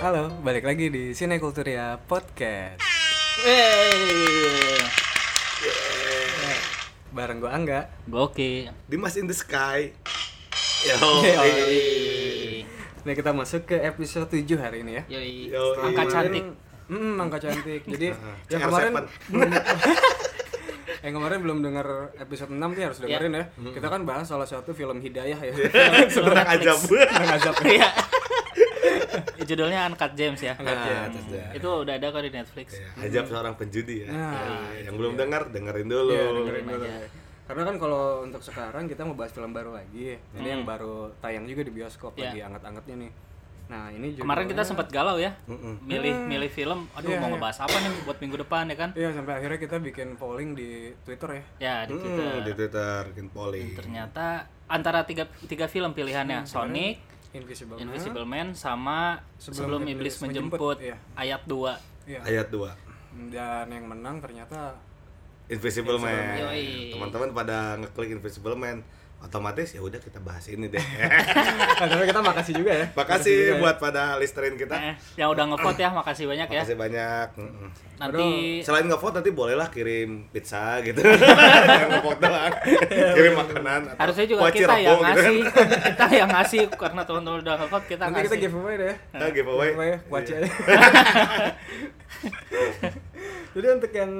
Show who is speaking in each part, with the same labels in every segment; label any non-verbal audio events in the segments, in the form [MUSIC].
Speaker 1: Halo, balik lagi di Sinekulturia Podcast
Speaker 2: Wey.
Speaker 1: Eh, Bareng gue Angga
Speaker 2: Gokil.
Speaker 3: Dimas in the sky. [LAUGHS] Iya, Yo.
Speaker 2: [LAUGHS]
Speaker 1: Nah kita masuk ke episode 7 hari ini ya
Speaker 2: Yoi.
Speaker 3: Yoi.
Speaker 2: Angka
Speaker 1: Kemarin- [LAUGHS]
Speaker 2: cantik.
Speaker 1: Hmm, angka cantik
Speaker 2: [LAUGHS]
Speaker 1: Jadi yang
Speaker 3: CR7.
Speaker 1: kemarin [LAUGHS] Yang kemarin belum denger episode 6 nih harus dengerin ya Kita kan bahas salah satu film hidayah
Speaker 2: [LAUGHS]
Speaker 1: ya
Speaker 3: Sebenarnya ajab. [LAUGHS]
Speaker 1: Yang azab ya
Speaker 2: Iya. [LAUGHS] Judulnya Uncut James ya.
Speaker 3: Nah, terus dah.
Speaker 2: Itu udah ada kok di Netflix.
Speaker 3: Ya, Ajab seorang penjudi ya.
Speaker 1: Nah,
Speaker 3: Ya, yang belum dengar dengerin dulu.
Speaker 1: Iya, dengerin dulu
Speaker 2: aja.
Speaker 1: ya. Karena kan kalau untuk sekarang kita mau bahas film baru lagi ya. Ini
Speaker 2: Mm.
Speaker 1: yang baru tayang juga di bioskop
Speaker 2: Iya.
Speaker 1: lagi anget-angetnya nih Nah ini juga
Speaker 2: Kemarin kita sempat galau ya. Milih milih film. Aduh mau ngebahas apa nih buat minggu depan ya kan?
Speaker 1: Iya sampai akhirnya kita bikin polling di Twitter ya
Speaker 2: Ya di Twitter.
Speaker 3: Hmm, di Twitter Kin Poli.
Speaker 2: Ternyata antara tiga tiga film pilihannya Sonic,
Speaker 1: Invisible Man.
Speaker 2: Invisible Man sama Sebelum, Iblis,
Speaker 1: Menjemput,
Speaker 2: Menjemput,
Speaker 1: iya.
Speaker 2: ayat 2.
Speaker 1: Iya.
Speaker 3: Ayat 2.
Speaker 1: Dan yang menang ternyata [LAUGHS]
Speaker 3: Invisible Man.
Speaker 2: Yoi.
Speaker 3: Teman-teman pada ngeklik Invisible Man, otomatis ya udah kita bahas ini deh.
Speaker 1: Nah, tapi kita makasih juga ya.
Speaker 3: Makasih buat pada listerin kita.
Speaker 2: Eh, yang udah ngevote ya, makasih banyak ya.
Speaker 3: Makasih banyak. Mm-mm.
Speaker 2: Nanti
Speaker 3: Selain ngevote nanti bolehlah kirim pizza
Speaker 2: [LAUGHS]
Speaker 3: gitu. Jangan ngevote doang. kirim makanan atau
Speaker 2: Iya, harusnya juga
Speaker 3: kuaci
Speaker 2: kita
Speaker 3: rebo
Speaker 2: yang
Speaker 3: gitu kan.
Speaker 2: ngasih [LAUGHS] kita yang ngasih karena teman-teman udah ngevote kita
Speaker 1: Nanti kita
Speaker 2: ngasih
Speaker 1: giveaway deh.
Speaker 3: Kita giveaway. Iya.
Speaker 1: Giveaway ya, kuaci
Speaker 3: [LAUGHS]
Speaker 1: aja. Jadi untuk yang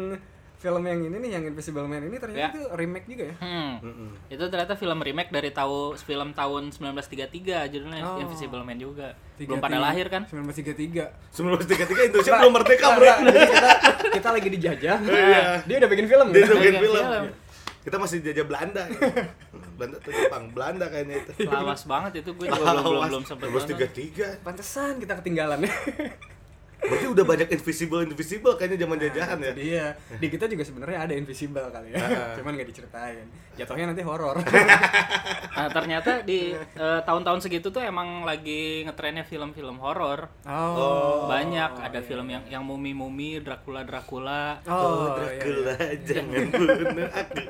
Speaker 1: film yang ini nih yang Invisible Man ini ternyata
Speaker 2: Ya.
Speaker 1: itu remake juga ya.
Speaker 2: Hmm. itu ternyata film remake dari tahu film tahun 1933 judulnya
Speaker 1: Oh.
Speaker 2: Invisible Man juga
Speaker 1: Tiga-
Speaker 2: belum pada
Speaker 1: tiga-
Speaker 2: lahir kan
Speaker 1: 1933.
Speaker 3: Sebelum tiga tiga Indonesia belum merdeka bro.
Speaker 1: Nah, jadi kita kita lagi dijajah.
Speaker 3: Iya.
Speaker 1: Dia udah bikin film.
Speaker 3: [LAUGHS] Dia
Speaker 1: ya?
Speaker 3: udah bikin
Speaker 2: Bikin
Speaker 3: film.
Speaker 2: film.
Speaker 3: Kita masih jajah Belanda. ya. Belanda tuh Jepang, Belanda kayaknya itu. [LAUGHS]
Speaker 2: lawas banget itu gue juga belum belum belum sempet
Speaker 3: Terus tiga
Speaker 2: nonton.
Speaker 3: tiga.
Speaker 1: Pantesan kita ketinggalan [LAUGHS] ya.
Speaker 3: Berarti udah banyak invisible invisible kayaknya zaman
Speaker 2: Nah,
Speaker 3: jajahan ya.
Speaker 1: Iya, di kita juga sebenarnya ada invisible kali ya. Cuman nggak diceritain. Jatuhnya nanti [LAUGHS] horor.
Speaker 2: nah ternyata di eh, tahun-tahun segitu tuh emang lagi ngetrennya film-film horor
Speaker 1: Oh. iya.
Speaker 2: banyak ada film yang yang mumi-mumi Dracula Dracula
Speaker 1: Oh, iya, iya.
Speaker 3: Dracula jangan bunuh aku.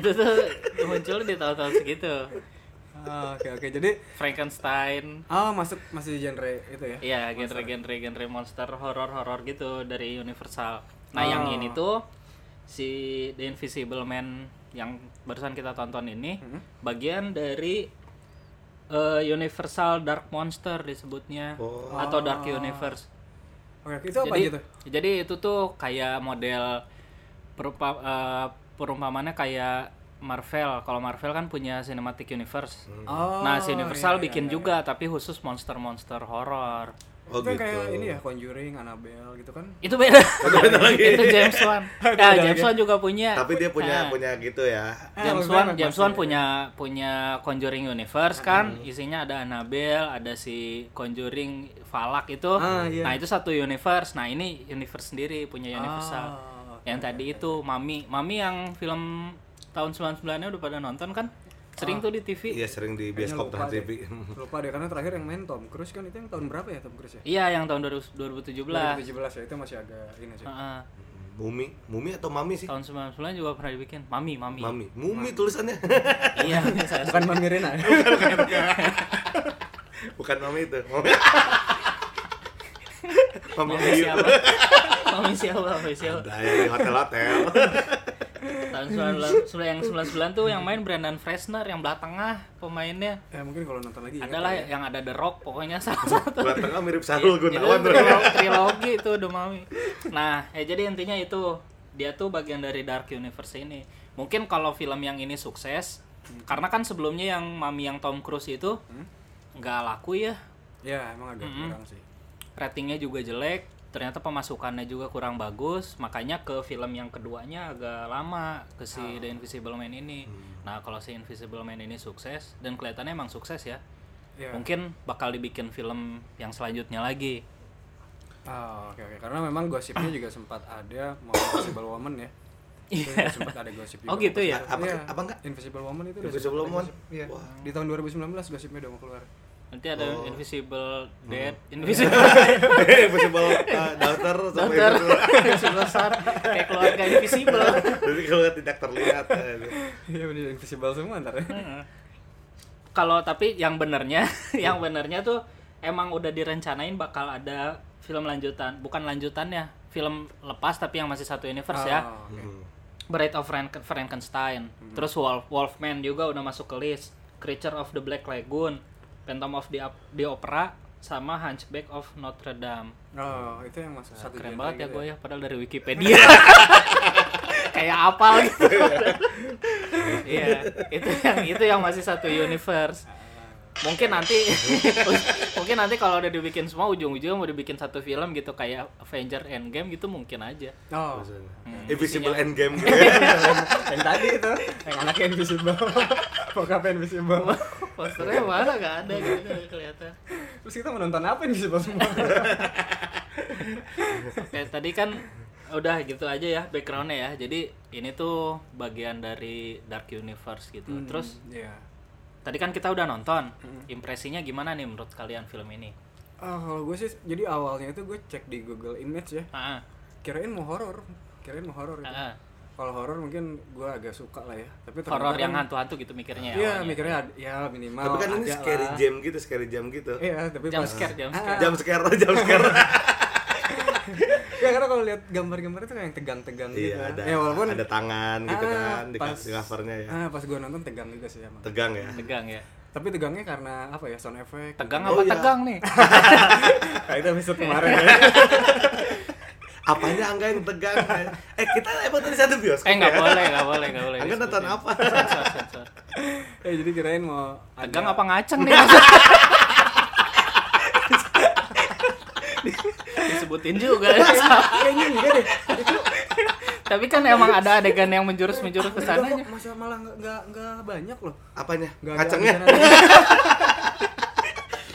Speaker 2: itu tuh [LAUGHS] muncul di tahun-tahun segitu
Speaker 1: Ah, Oke oke jadi
Speaker 2: Frankenstein
Speaker 1: ah masuk masih genre itu ya.
Speaker 2: Iya, genre-genre genre monster horor-horor gitu dari Universal. Nah,
Speaker 1: Oh.
Speaker 2: yang ini tuh si The Invisible Man yang barusan kita tonton ini
Speaker 1: Mm-hmm.
Speaker 2: bagian dari eh, Universal Dark Monster disebutnya atau Dark Universe.
Speaker 1: Oke oke, itu Oh. apa
Speaker 2: jadi
Speaker 1: gitu?
Speaker 2: jadi itu tuh kayak model perupa, eh, perumpamannya kayak Marvel. Kalau Marvel kan punya Cinematic Universe.
Speaker 1: Oh. iya,
Speaker 2: nah, si Universal bikin juga tapi khusus monster-monster horor.
Speaker 3: Oh
Speaker 1: itu yang
Speaker 3: gitu.
Speaker 2: Nah,
Speaker 1: kayak ini ya Conjuring, Annabelle gitu kan.
Speaker 2: Itu beda. itu James Wan. Nah, James Wan juga punya.
Speaker 3: Tapi dia punya punya gitu ya.
Speaker 2: James
Speaker 1: Ah,
Speaker 2: Wan,
Speaker 1: maksudnya
Speaker 2: James Wan punya
Speaker 1: ya.
Speaker 2: punya Conjuring Universe kan,
Speaker 1: Hmm.
Speaker 2: isinya ada Annabelle, ada si Conjuring Falak itu.
Speaker 1: Ah, iya.
Speaker 2: Nah, itu satu universe. Nah, ini universe sendiri punya Universal.
Speaker 1: Ah, oke,
Speaker 2: yang tadi itu Mami. Mami yang film tahun 99-nya udah pada nonton kan? Sering tuh di TV.
Speaker 3: Iya sering di bioskop
Speaker 1: lupa
Speaker 3: Trans
Speaker 1: deh.
Speaker 3: TV.
Speaker 1: Lupa deh karena terakhir yang main Tom Cruise kan itu yang tahun berapa ya Tom Cruise ya?
Speaker 2: Iya, yang tahun 2017.
Speaker 1: 2017 ya itu masih agak ini sih.
Speaker 2: Heeh.
Speaker 3: Mumi, Mumi atau Mami sih?
Speaker 2: tahun 99 juga pernah dibikin. Mami, Mami.
Speaker 3: Mami, Mumi tulisannya. [LAUGHS]
Speaker 2: Iya, saya
Speaker 1: Bukan Mami Rina.
Speaker 2: [LAUGHS]
Speaker 1: ya?
Speaker 3: Bukan Mami itu.
Speaker 1: [LAUGHS]
Speaker 3: Mami, Mami
Speaker 2: Mami
Speaker 3: Ayu.
Speaker 2: siapa? [LAUGHS] Mami siapa? Mami siapa?
Speaker 3: Ada yang di
Speaker 1: [LAUGHS]
Speaker 3: hotel-hotel.
Speaker 2: Tahun 99 sudah yang 99 tuh yang main Brandon Fresner yang belah tengah pemainnya
Speaker 1: Ya mungkin kalau nonton lagi
Speaker 3: Iya,
Speaker 1: ingat
Speaker 2: adalah
Speaker 1: kali ya.
Speaker 2: yang ada The Rock
Speaker 3: [LAUGHS]
Speaker 2: pokoknya salah satu.
Speaker 3: Bulan tengah mirip
Speaker 1: Iya,
Speaker 3: Sarul
Speaker 2: Itu
Speaker 3: Gunawan. tuh.
Speaker 2: trilo- trilogi itu The Mummy. Nah, ya jadi intinya itu dia tuh bagian dari Dark Universe ini. Mungkin kalau film yang ini sukses karena kan sebelumnya yang Mami yang Tom Cruise itu
Speaker 3: Hmm?
Speaker 2: nggak laku ya.
Speaker 1: Ya emang agak kurang sih.
Speaker 2: Ratingnya juga jelek, ternyata pemasukannya juga kurang bagus, makanya ke film yang keduanya agak lama ke si The Invisible Man ini. Nah, kalau si Invisible Man ini sukses dan kelihatannya emang sukses ya.
Speaker 1: Ya.
Speaker 2: Mungkin bakal dibikin film yang selanjutnya lagi.
Speaker 1: Ah, oke oke karena memang gosipnya juga sempat ada mau Invisible Woman ya. Itu juga sempat ada gosip juga.
Speaker 2: Oh gitu ya.
Speaker 3: Apa-
Speaker 1: Iya.
Speaker 3: apa enggak?
Speaker 1: Invisible Woman itu udah sempat
Speaker 3: Invisible
Speaker 1: ada
Speaker 3: Woman?
Speaker 1: gosip. Iya.
Speaker 3: Wah.
Speaker 1: Di tahun 2019 gosipnya udah mau keluar.
Speaker 2: [LAUGHS] Nanti ada Invisible Dead, Invisible [LAUGHS]
Speaker 3: [LAUGHS] Invisible uh, daughter sama
Speaker 2: Daughter,
Speaker 3: itu.
Speaker 2: Invisible Star, kayak keluarga Invisible.
Speaker 3: Jadi kalau tidak terlihat. eh,
Speaker 1: Iya bener Invisible semua ntar ya.
Speaker 2: kalau tapi yang benernya [LAUGHS] yang benernya tuh emang udah direncanain bakal ada film lanjutan bukan lanjutannya film lepas tapi yang masih satu universe ya
Speaker 1: Oh, oke.
Speaker 2: Bride of Frank- Frankenstein terus Wolf Wolfman juga udah masuk ke list Creature of the Black Lagoon Phantom of the, Op- the Opera sama Hunchback of Notre Dame
Speaker 1: Oh, itu yang masuk satu
Speaker 2: keren
Speaker 1: genre
Speaker 2: banget ya
Speaker 1: gitu
Speaker 2: gue ya padahal dari Wikipedia [LAUGHS] kayak apal gitu iya itu yang itu yang masih satu universe mungkin nanti [LAUGHS] mungkin nanti kalau udah dibikin semua ujung-ujungnya mau dibikin satu film gitu kayak Avenger Endgame gitu mungkin aja
Speaker 1: Oh,
Speaker 3: Invisible Endgame gitu ya.
Speaker 1: [LAUGHS] yang tadi itu, yang anaknya invisible. [LAUGHS] Bokapnya invisible.
Speaker 2: posternya mana gak ada gitu nggak kelihatan
Speaker 1: Terus kita menonton apa invisible semua?
Speaker 2: oke tadi kan udah gitu aja ya backgroundnya ya jadi ini tuh bagian dari Dark Universe gitu
Speaker 1: [LAUGHS]
Speaker 2: terus
Speaker 1: Iya.
Speaker 2: Tadi kan kita udah nonton, impresinya gimana nih menurut kalian film ini?
Speaker 1: Ah, kalau gue sih jadi awalnya itu gue cek di Google Image ya.
Speaker 2: Ah,
Speaker 1: Kirain mau horor. Kirain mau horor
Speaker 2: ah,
Speaker 1: itu.
Speaker 2: ah.
Speaker 1: Kalau horor mungkin gue agak suka lah ya. Tapi ternyata
Speaker 2: horor yang
Speaker 1: kan-
Speaker 2: hantu-hantu gitu mikirnya.
Speaker 1: Iya,
Speaker 2: awalnya.
Speaker 1: mikirnya ad- ya minimal.
Speaker 3: Tapi kan ini
Speaker 1: ada
Speaker 3: scary
Speaker 1: lah.
Speaker 3: jam gitu, scary jam gitu.
Speaker 1: Iya, tapi
Speaker 2: Jump
Speaker 1: pas
Speaker 2: scare, jump
Speaker 1: Ah,
Speaker 2: scare.
Speaker 3: Jam scare, jam
Speaker 1: [LAUGHS]
Speaker 3: scare.
Speaker 1: Ya karena kalau lihat gambar-gambarnya tuh kayak yang tegang-tegang gitu.
Speaker 3: Iya,
Speaker 1: kan.
Speaker 3: ada
Speaker 1: ya walaupun
Speaker 3: ada tangan gitu
Speaker 1: Ah,
Speaker 3: kan di,
Speaker 1: pas-
Speaker 3: di covernya ya.
Speaker 1: ah, pas gue nonton tegang juga sih emang.
Speaker 3: Tegang ya.
Speaker 2: Tegang ya.
Speaker 1: Tapi tegangnya karena apa ya sound effect.
Speaker 2: Tegang
Speaker 3: Oh,
Speaker 2: apa
Speaker 3: iya.
Speaker 2: tegang nih?
Speaker 1: Nah, itu
Speaker 2: [LAUGHS]
Speaker 1: episode kemarin ya. [LAUGHS]
Speaker 3: Apanya Angga yang tegang? eh, kita emang tadi satu bioskop.
Speaker 2: eh nggak
Speaker 3: ya?
Speaker 2: boleh, ya. nggak boleh, nggak boleh.
Speaker 3: Angga nonton
Speaker 2: disebutin.
Speaker 3: apa?
Speaker 2: Sensor, sensor.
Speaker 1: ya jadi kirain mau
Speaker 2: Tegang
Speaker 1: ada-
Speaker 2: apa ngaceng nih? maksudnya? Disebutin juga.
Speaker 1: Kayaknya enggak Iya,
Speaker 2: [LAUGHS]
Speaker 1: deh.
Speaker 2: Tapi kan emang ada adegan yang menjurus-menjurus ke
Speaker 1: Enggak kok,
Speaker 2: sananya.
Speaker 1: Masa malah enggak enggak enggak banyak loh.
Speaker 3: Apanya?
Speaker 1: Enggak
Speaker 3: Kacangnya.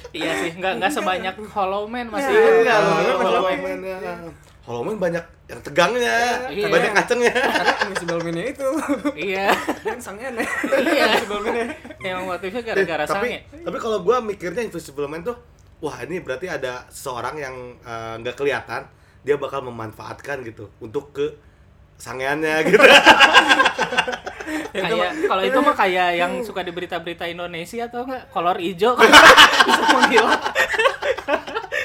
Speaker 2: Iya sih, nggak nggak sebanyak Hollow Man masih.
Speaker 1: Iya,
Speaker 2: Nggak,
Speaker 1: Hollow Man Hollow
Speaker 2: Hollow Man.
Speaker 3: Hollow
Speaker 1: Man.
Speaker 3: Man ya. Hollow Man banyak yang tegangnya,
Speaker 2: Iya.
Speaker 3: banyak kacangnya.
Speaker 1: Karena invisible man itu. [LAUGHS]
Speaker 2: Iya.
Speaker 1: Dia kan sang enek.
Speaker 2: Iya.
Speaker 1: Invisible man
Speaker 2: Emang motifnya gara-gara
Speaker 3: Eh, tapi
Speaker 2: sange.
Speaker 3: tapi kalau gua mikirnya Invisible Man tuh wah ini berarti ada seorang yang eh, nggak kelihatan dia bakal memanfaatkan gitu untuk ke sangeannya gitu [LAUGHS]
Speaker 2: Kayak kalau itu mah kayak yang suka di berita-berita Indonesia atau enggak kolor ijo bisa menghilang.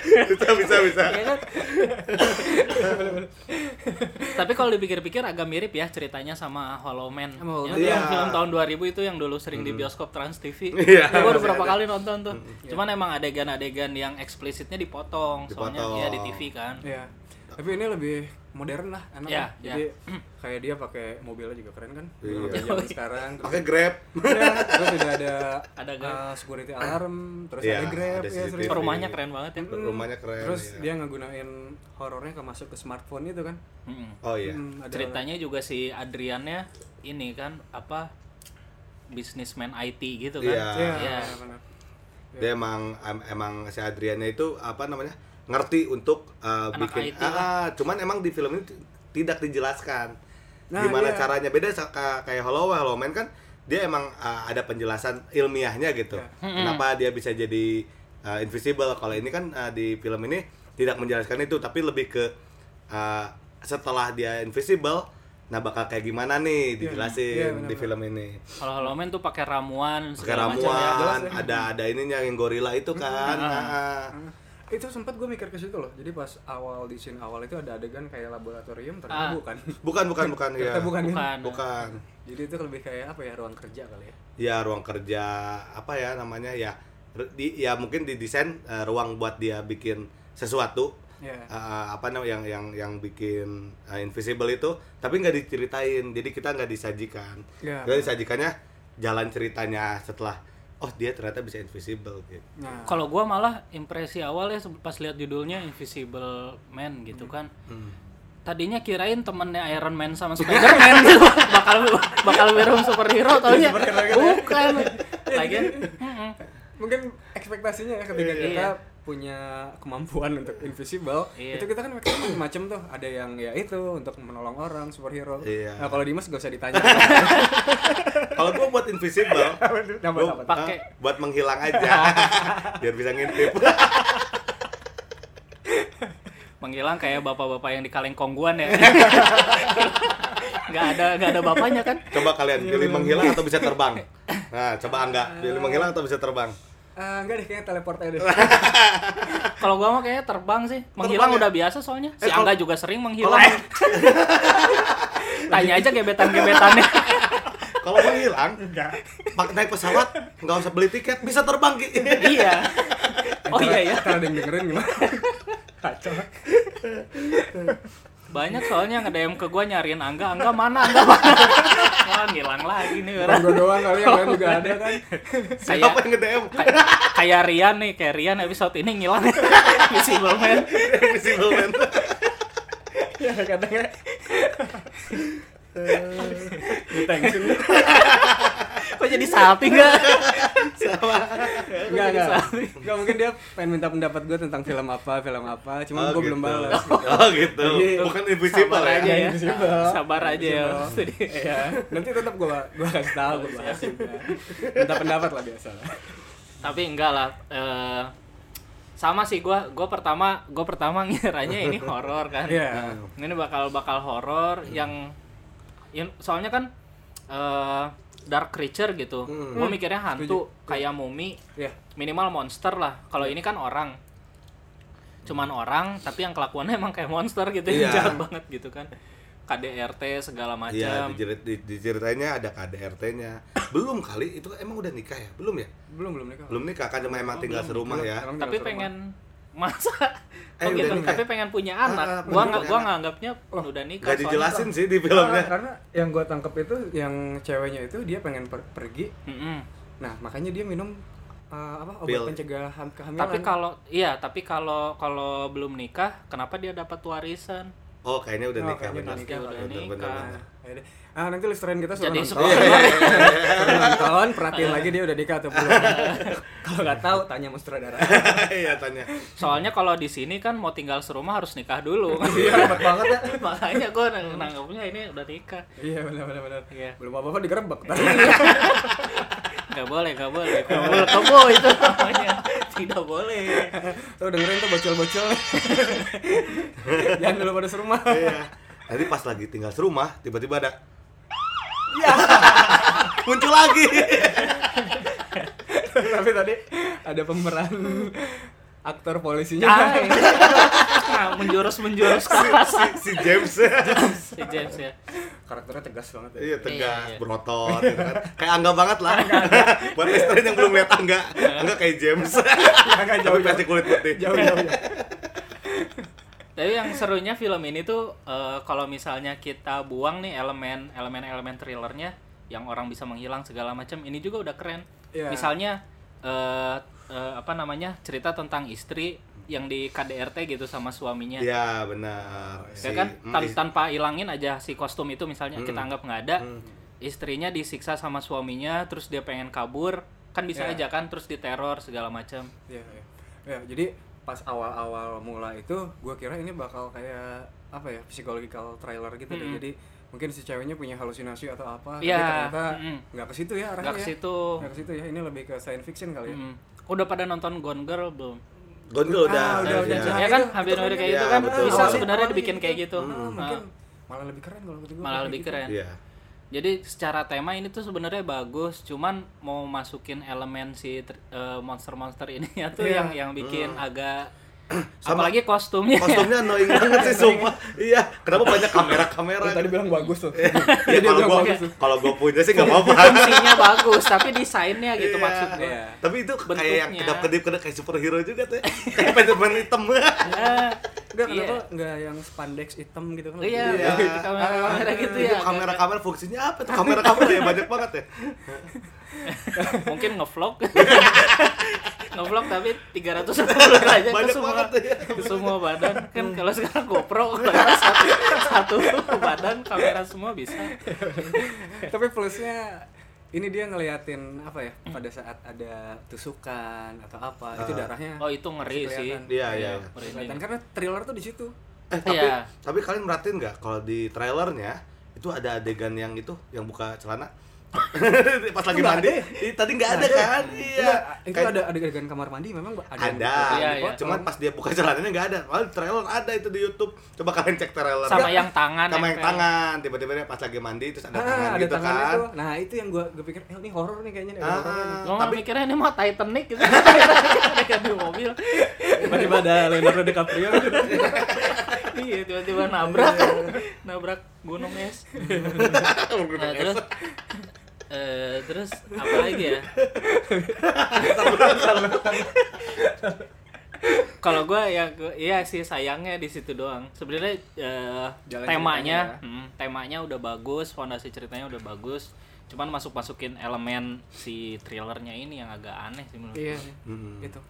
Speaker 3: bisa bisa bisa
Speaker 2: Iya kan? Tapi kalau dipikir-pikir agak mirip ya ceritanya sama Hollow Man.
Speaker 1: Sama Hollow Man.
Speaker 2: Yang film,
Speaker 3: Iya.
Speaker 2: film tahun 2000 itu yang dulu sering di bioskop Trans TV.
Speaker 3: Iya,
Speaker 2: Gua udah
Speaker 3: masih
Speaker 2: berapa
Speaker 3: ada.
Speaker 2: kali nonton tuh. Cuman emang adegan-adegan yang eksplisitnya dipotong, soalnya
Speaker 3: Dipotong.
Speaker 2: dia di TV kan.
Speaker 1: Iya. Tapi ini lebih modern lah, enak.
Speaker 2: Iya,
Speaker 1: lah. Jadi kayak dia pakai mobilnya juga keren kan.
Speaker 3: Iya.
Speaker 1: Mobil Zaman
Speaker 2: [LAUGHS]
Speaker 1: sekarang. Terus
Speaker 3: pakai grab
Speaker 1: Ya, terus juga ada
Speaker 2: Ada
Speaker 1: ada
Speaker 2: Grab.
Speaker 1: security alarm, terus
Speaker 3: Iya,
Speaker 1: ada Grab
Speaker 3: ada
Speaker 1: ya
Speaker 3: CCTV.
Speaker 1: sering.
Speaker 2: Rumahnya keren banget ya.
Speaker 1: Mm-mm.
Speaker 3: Rumahnya keren,
Speaker 1: Terus
Speaker 3: iya.
Speaker 1: dia ngegunain horornya ke masuk ke smartphone itu kan.
Speaker 2: Mm-mm.
Speaker 3: oh iya
Speaker 1: Mm, ada
Speaker 2: Hmm. ceritanya juga si Adriannya ini kan apa bisnismen IT gitu kan
Speaker 3: Iya.
Speaker 1: Iya,
Speaker 2: Iya.
Speaker 1: benar. Iya.
Speaker 3: dia emang em- emang si Adriannya itu apa namanya ngerti untuk eh,
Speaker 2: Anak
Speaker 3: bikin
Speaker 2: IT
Speaker 3: ah, ah, cuman emang di film ini t- tidak dijelaskan
Speaker 1: Nah, iya.
Speaker 3: gimana caranya beda sa- ka- kayak Hollow Hollow Man kan dia emang eh, ada penjelasan ilmiahnya gitu
Speaker 1: Iya.
Speaker 3: kenapa dia bisa jadi eh, invisible kalau ini kan eh, di film ini tidak menjelaskan itu tapi lebih ke eh, setelah dia invisible nah bakal kayak gimana nih
Speaker 1: Iya,
Speaker 3: dijelasin di film ini
Speaker 2: kalau Hollow Man tuh pakai ramuan
Speaker 3: pakai
Speaker 2: segala macam ya.
Speaker 1: jelas
Speaker 3: ramuan
Speaker 1: ya.
Speaker 3: ada ada ininya yang gorila itu kan ah.
Speaker 1: Nah, Itu sempat gue mikir ke situ loh. Jadi pas awal di scene awal itu ada adegan kayak laboratorium
Speaker 2: Ah.
Speaker 1: ternyata bukan.
Speaker 3: bukan bukan bukan ya
Speaker 1: Ternyata bukan. kan?
Speaker 2: bukan
Speaker 3: bukan
Speaker 1: Jadi itu lebih kayak apa ya ruang kerja kali ya.
Speaker 3: ya ruang kerja apa ya namanya ya Ru- di, ya mungkin didesain eh, ruang buat dia bikin sesuatu
Speaker 1: Iya.
Speaker 3: Eh, apa namanya yang yang yang bikin eh, invisible itu tapi nggak diceritain jadi kita nggak disajikan
Speaker 1: Iya.
Speaker 3: jadi disajikannya jalan ceritanya setelah oh dia ternyata bisa invisible gitu
Speaker 1: Nah,
Speaker 2: kalau gua malah impresi awalnya se- pas lihat judulnya Invisible Man gitu kan
Speaker 3: Hmm.
Speaker 2: tadinya kirain temennya Iron Man sama Spider-Man [LAUGHS] tuh bakal bakal film superhero taunya
Speaker 3: gitu ya.
Speaker 2: bukan
Speaker 3: [LAUGHS]
Speaker 2: lagi
Speaker 1: mungkin ekspektasinya ya ketika kita punya kemampuan untuk invisible
Speaker 2: Iya.
Speaker 1: itu kita kan mikir macam tuh ada yang ya itu untuk menolong orang superhero
Speaker 3: Iya.
Speaker 1: nah kalau Dimas gak usah ditanya
Speaker 3: kalau gua buat invisible
Speaker 1: Nama
Speaker 3: Gua-
Speaker 1: apa tuh?
Speaker 2: Pakai.
Speaker 3: ah, buat menghilang aja [LAUGHS] biar bisa ngintip
Speaker 2: menghilang kayak bapak-bapak yang di kaleng kongguan ya [LAUGHS] nggak ada nggak ada bapaknya kan
Speaker 3: Coba kalian pilih menghilang atau bisa terbang. Nah, coba Angga pilih menghilang atau bisa terbang.
Speaker 1: Ah, enggak deh kayaknya teleport aja deh.
Speaker 2: kalau gua mah kayaknya terbang sih menghilang
Speaker 3: ya?
Speaker 2: udah biasa soalnya si
Speaker 3: Eh, kalau-
Speaker 2: Angga juga sering
Speaker 3: Kalau
Speaker 2: menghilang tanya aja gebetan
Speaker 3: [LAUGHS]
Speaker 2: gebetannya
Speaker 3: kalau menghilang, pak naik pesawat nggak usah beli tiket bisa terbang Ki.
Speaker 2: iya oh iya ya
Speaker 1: Kalau ada yang dengerin gimana? Kacau.
Speaker 2: banyak soalnya yang DM ke gua nyariin Angga Angga mana Angga
Speaker 3: [LAUGHS]
Speaker 2: mana wah ngilang lagi nih
Speaker 1: Bukan
Speaker 2: orang
Speaker 1: gua doang kali yang lain
Speaker 2: Oh.
Speaker 1: juga ada kan.
Speaker 3: [LAUGHS] Siapa
Speaker 2: kayak
Speaker 3: yang nge-DM?
Speaker 2: kayak- kayak Rian nih kayak Rian episode ini ngilang [LAUGHS] visible man
Speaker 3: [LAUGHS] Invisible Man.
Speaker 1: Hmm, Ya katanya. Eh. Detensi lu.
Speaker 2: kok jadi salting gak
Speaker 1: Enggak, enggak. Enggak mungkin dia pengen minta pendapat gue tentang film apa, film apa. Cuman
Speaker 3: Oh,
Speaker 1: gue belum
Speaker 3: gitu.
Speaker 1: balas.
Speaker 3: Oh gitu.
Speaker 1: Iya.
Speaker 3: Bukan invisible
Speaker 2: Sabar aja
Speaker 3: ya.
Speaker 2: ya.
Speaker 1: Invisible.
Speaker 2: Sabar aja ya.
Speaker 1: Invisible.
Speaker 2: Jadi,
Speaker 1: Iya. Nanti tetap gue gua kasih tahu
Speaker 2: Iya,
Speaker 1: gue bahas. juga. Minta pendapat lah biasa. lah.
Speaker 2: Tapi enggak lah. eh, sama sih gua gua pertama gua pertama ngiranya ini horor kan.
Speaker 1: Iya.
Speaker 2: Ini bakal bakal horor yang yang- soalnya kan eh, dark creature gitu.
Speaker 3: Hmm.
Speaker 2: Gua mikirnya hantu kayak mumi
Speaker 1: Iya.
Speaker 2: minimal monster lah. Kalau
Speaker 3: Iya.
Speaker 2: ini kan orang. Cuman orang tapi yang kelakuannya emang kayak monster gitu, yang
Speaker 3: Hmm. Iya.
Speaker 2: jahat banget gitu kan. KDRT segala macam.
Speaker 3: Iya, dijerit, di, diceritainnya ada KDRT-nya. Belum kali itu emang udah nikah ya? Belum ya?
Speaker 1: Belum belum nikah.
Speaker 3: Belum nikah kan cuma emang tinggal serumah ya.
Speaker 1: Sekarang tinggal
Speaker 2: tapi
Speaker 1: serumah.
Speaker 2: pengen masa
Speaker 3: [LAUGHS] Eh,
Speaker 2: oh
Speaker 3: udah
Speaker 2: gitu
Speaker 3: nikah.
Speaker 2: tapi pengen punya anak
Speaker 3: Ah, ah,
Speaker 2: gua
Speaker 3: pengen
Speaker 2: nggak
Speaker 3: punya
Speaker 2: gua
Speaker 3: anak.
Speaker 2: nganggapnya udah nikah
Speaker 3: Gak dijelasin sih di
Speaker 1: Karena,
Speaker 3: filmnya.
Speaker 1: karena yang gue tangkep itu yang ceweknya itu dia pengen per- pergi.
Speaker 2: Mm-mm.
Speaker 3: Iya
Speaker 1: Nah makanya dia minum eh, apa obat
Speaker 3: Pil.
Speaker 1: pencegahan kehamilan.
Speaker 2: tapi
Speaker 3: kan?
Speaker 2: kalau iya tapi kalau kalau belum nikah kenapa dia dapat warisan
Speaker 3: Oh, kayaknya udah
Speaker 1: Oh,
Speaker 3: nikah
Speaker 1: kayaknya
Speaker 3: benar.
Speaker 1: udah
Speaker 2: nikah, udah
Speaker 3: Benar, benar,
Speaker 2: nikah.
Speaker 3: benar.
Speaker 1: Ya deh. Ah, nanti listerin kita suruh
Speaker 2: Jadi
Speaker 1: nonton.
Speaker 2: suruh-
Speaker 1: Iya, iya, iya. Suruh nonton, perhatiin lagi dia udah nikah atau belum. Kalau nggak tahu tanya sama sutradara.
Speaker 3: [LAUGHS] Iya, tanya.
Speaker 2: [LAUGHS] soalnya kalau di sini kan mau tinggal serumah harus nikah
Speaker 3: [LAUGHS]
Speaker 2: dulu
Speaker 1: Iya, hebat banget ya.
Speaker 2: makanya gua nang- nanggapnya ini udah nikah
Speaker 1: Iya, benar benar benar.
Speaker 2: Iya.
Speaker 1: Belum apa-apa digerebek.
Speaker 2: [LAUGHS] nggak boleh [LAUGHS] nggak boleh kabul kabul itu namanya tidak boleh
Speaker 1: Tuh dengerin tuh bocil-bocil. [LAUGHS] Jangan dulu pada serumah. [LAUGHS]
Speaker 3: Iya. Nanti pas lagi tinggal serumah, tiba-tiba ada
Speaker 1: Iya.
Speaker 3: [LAUGHS] muncul
Speaker 1: [LAUGHS]
Speaker 3: lagi.
Speaker 1: Tapi tadi ada pemeran aktor polisinya.
Speaker 2: Ah, [LAUGHS] iya. nah, menjurus menjurus ke arah
Speaker 3: si, si James.
Speaker 1: Iya,
Speaker 2: si James ya
Speaker 1: Karakternya tegas banget ya.
Speaker 3: Iya, tegas,
Speaker 2: Iya, iya.
Speaker 3: berotot gitu kan. Kayak Angga banget lah. [LAUGHS] Buat listerin yang belum lihat Angga, Angga kayak James.
Speaker 1: Agak
Speaker 3: Tapi
Speaker 1: Iya. jauh
Speaker 3: pasti kulit putih.
Speaker 1: jauh jauh. jauh.
Speaker 2: Tapi yang serunya film ini tuh eh, kalau misalnya kita buang nih elemen elemen elemen thrillernya yang orang bisa menghilang segala macam ini juga udah keren.
Speaker 1: Iya.
Speaker 2: Misalnya eh, eh, apa namanya cerita tentang istri yang di KDRT gitu sama suaminya.
Speaker 3: Iya, benar.
Speaker 2: Ya
Speaker 3: Si-
Speaker 2: kan
Speaker 3: mm,
Speaker 2: Tan-
Speaker 3: is-
Speaker 2: tanpa ilangin aja si kostum itu misalnya kita anggap nggak ada istrinya disiksa sama suaminya terus dia pengen kabur kan bisa aja kan terus diteror segala macam.
Speaker 1: [LAUGHS] Iya, iya. Ya, jadi pas awal-awal mula itu gue kira ini bakal kayak apa ya psychological trailer gitu deh. Jadi mungkin si ceweknya punya halusinasi atau apa. Tapi
Speaker 2: Iya,
Speaker 1: ternyata
Speaker 2: mm-mm.
Speaker 1: nggak ke situ ya arahnya.
Speaker 2: Nggak ke
Speaker 1: ya.
Speaker 2: situ.
Speaker 1: Nggak ke situ ya. Ini lebih ke science fiction kali ya.
Speaker 2: Hmm. Udah pada nonton Gone Girl belum?
Speaker 3: Gondel
Speaker 1: Ah,
Speaker 3: udah.
Speaker 1: udah, udah, udah.
Speaker 3: iya.
Speaker 2: ya
Speaker 1: Nah,
Speaker 2: kan
Speaker 1: itu-
Speaker 2: hampir
Speaker 1: itu
Speaker 2: mirip kayak
Speaker 3: keren.
Speaker 2: gitu kan
Speaker 3: Iya, betul.
Speaker 2: bisa
Speaker 3: Awalnya-
Speaker 2: sebenarnya
Speaker 1: awalnya
Speaker 2: dibikin
Speaker 1: gitu.
Speaker 2: kayak gitu
Speaker 1: Ah, mungkin
Speaker 2: Nah,
Speaker 1: malah lebih keren kalau menurut gue.
Speaker 2: malah
Speaker 1: Kayak
Speaker 2: lebih
Speaker 1: gitu.
Speaker 2: keren
Speaker 3: Iya.
Speaker 2: jadi secara tema ini tuh sebenarnya bagus cuman mau masukin elemen si ter- eh, monster-monster ini ya tuh
Speaker 1: Iya.
Speaker 2: yang yang bikin agak
Speaker 3: Sama-
Speaker 2: apalagi kostumnya
Speaker 3: Kostumnya annoying banget sih
Speaker 1: [LAUGHS]
Speaker 3: sumpah. Iya, kenapa banyak kamera-kamera?
Speaker 1: Lu Kan tadi bilang bagus
Speaker 3: [LAUGHS]
Speaker 1: tuh. [LAUGHS]
Speaker 3: Ya kalau Iya. gua kalau gua punya sih nggak apa-apa.
Speaker 2: fungsinya bagus tapi desainnya gitu
Speaker 3: Iya.
Speaker 2: maksud gue
Speaker 1: Iya.
Speaker 3: Tapi itu kayak yang
Speaker 2: Bentuknya.
Speaker 3: kedap-kedip kedap kayak superhero juga tuh. [LAUGHS] ya. Kayak Batman hitam.
Speaker 2: Ya,
Speaker 1: Enggak
Speaker 2: iya.
Speaker 1: kenapa enggak yang spandex hitam gitu kan?
Speaker 2: Iya,
Speaker 3: Iya.
Speaker 2: gitu, kamera-kamera gitu ya.
Speaker 3: Itu kamera-kamera fungsinya apa tuh? Kamera-kamera ya banyak banget ya.
Speaker 2: Mungkin
Speaker 3: [LAUGHS]
Speaker 2: ngevlog. ngevlog tapi 360 derajat ke
Speaker 3: Banyak
Speaker 2: semua
Speaker 3: banget tuh ya.
Speaker 2: ke semua badan. Kan kalau sekarang
Speaker 3: [LAUGHS]
Speaker 2: GoPro kamera satu, satu badan kamera semua bisa.
Speaker 1: [LAUGHS] tapi plusnya ini dia ngeliatin apa ya
Speaker 2: Hmm.
Speaker 1: pada saat ada tusukan atau apa
Speaker 3: Ah.
Speaker 1: itu darahnya
Speaker 2: Oh, itu ngeri
Speaker 1: Masih
Speaker 2: sih.
Speaker 1: kelihatan.
Speaker 3: Iya, iya. iya.
Speaker 1: kelihatan
Speaker 2: kan?
Speaker 1: karena thriller tuh di situ
Speaker 3: Eh, tapi
Speaker 2: Iya.
Speaker 3: tapi kalian merhatiin nggak kalau di trailernya itu ada adegan yang itu yang buka celana [LAUGHS] pas lagi
Speaker 1: Nggak
Speaker 3: mandi
Speaker 1: ada.
Speaker 3: ih, tadi nggak ada kan iya
Speaker 1: Enggak, itu
Speaker 3: Kayak-
Speaker 1: ada adegan kamar mandi memang ada. yang-
Speaker 3: ada,
Speaker 2: Iya, iya.
Speaker 3: cuman
Speaker 1: Ah,
Speaker 3: pas dia buka celananya nggak ada. Padahal trailer ada itu di YouTube. Coba kalian cek trailer.
Speaker 2: Sama yang tangan ya,
Speaker 3: Sama yang
Speaker 2: nempel.
Speaker 3: tangan. Tiba-tiba dia pas lagi mandi terus ada
Speaker 1: Ah,
Speaker 3: tangan
Speaker 1: ada
Speaker 3: gitu
Speaker 1: tangannya
Speaker 3: kan. [LAUGHS]
Speaker 1: tuh. Nah, itu yang gua gua pikir, eh ini horor nih kayaknya nih, ada
Speaker 3: Ah,
Speaker 1: horornya nih.
Speaker 2: Gue
Speaker 3: tapi
Speaker 2: mikirnya ini mah Titanic
Speaker 3: [LAUGHS]
Speaker 2: gitu. Kayak di mobil.
Speaker 1: Tiba-tiba ada Leonardo DiCaprio.
Speaker 2: Iya, tiba-tiba nabrak.
Speaker 3: Iya,
Speaker 2: nabrak gunung es. Nah, terus eh terus apa lagi ya? Kalau gue ya gua- iya sih sayangnya di situ doang. Sebenarnya eh,
Speaker 1: Jalan ceritanya
Speaker 2: temanya
Speaker 1: ya.
Speaker 2: mm, temanya udah bagus, fondasi ceritanya udah bagus. Cuman masuk-masukin elemen si thrillernya ini yang agak aneh sih menurut
Speaker 1: Iya.
Speaker 2: gua.
Speaker 3: Mm-mm.
Speaker 1: Gitu.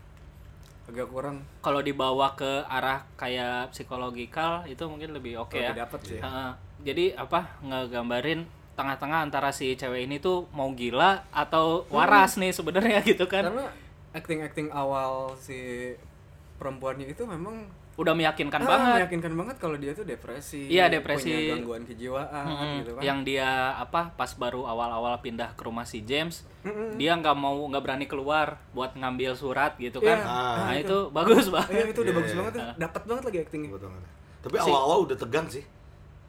Speaker 1: Agak kurang
Speaker 2: Kalau dibawa ke arah kayak psikologikal itu mungkin lebih oke ya.
Speaker 1: lebih dapat sih.
Speaker 2: Heeh. jadi apa ngegambarin tengah-tengah antara si cewek ini tuh mau gila atau waras nih sebenarnya gitu kan
Speaker 1: Hmm. Karena acting-acting awal si perempuannya itu memang
Speaker 2: udah meyakinkan
Speaker 1: ah,
Speaker 2: Kan banget
Speaker 1: meyakinkan banget kalau dia tuh depresi.
Speaker 2: Iya, depresi.
Speaker 1: Punya gangguan kejiwaan
Speaker 2: Mm-mm. Iya.
Speaker 1: gitu kan.
Speaker 2: yang dia apa pas baru awal-awal pindah ke rumah si James dia nggak mau nggak berani keluar buat ngambil surat gitu kan
Speaker 1: Iya.
Speaker 3: Ah.
Speaker 2: nah itu bagus banget
Speaker 1: Iya, itu udah
Speaker 3: Iya,
Speaker 1: bagus
Speaker 3: iya.
Speaker 1: banget, tuh. dapat banget lagi actingnya.
Speaker 3: Betul banget. Tapi awal-awal udah tegang sih.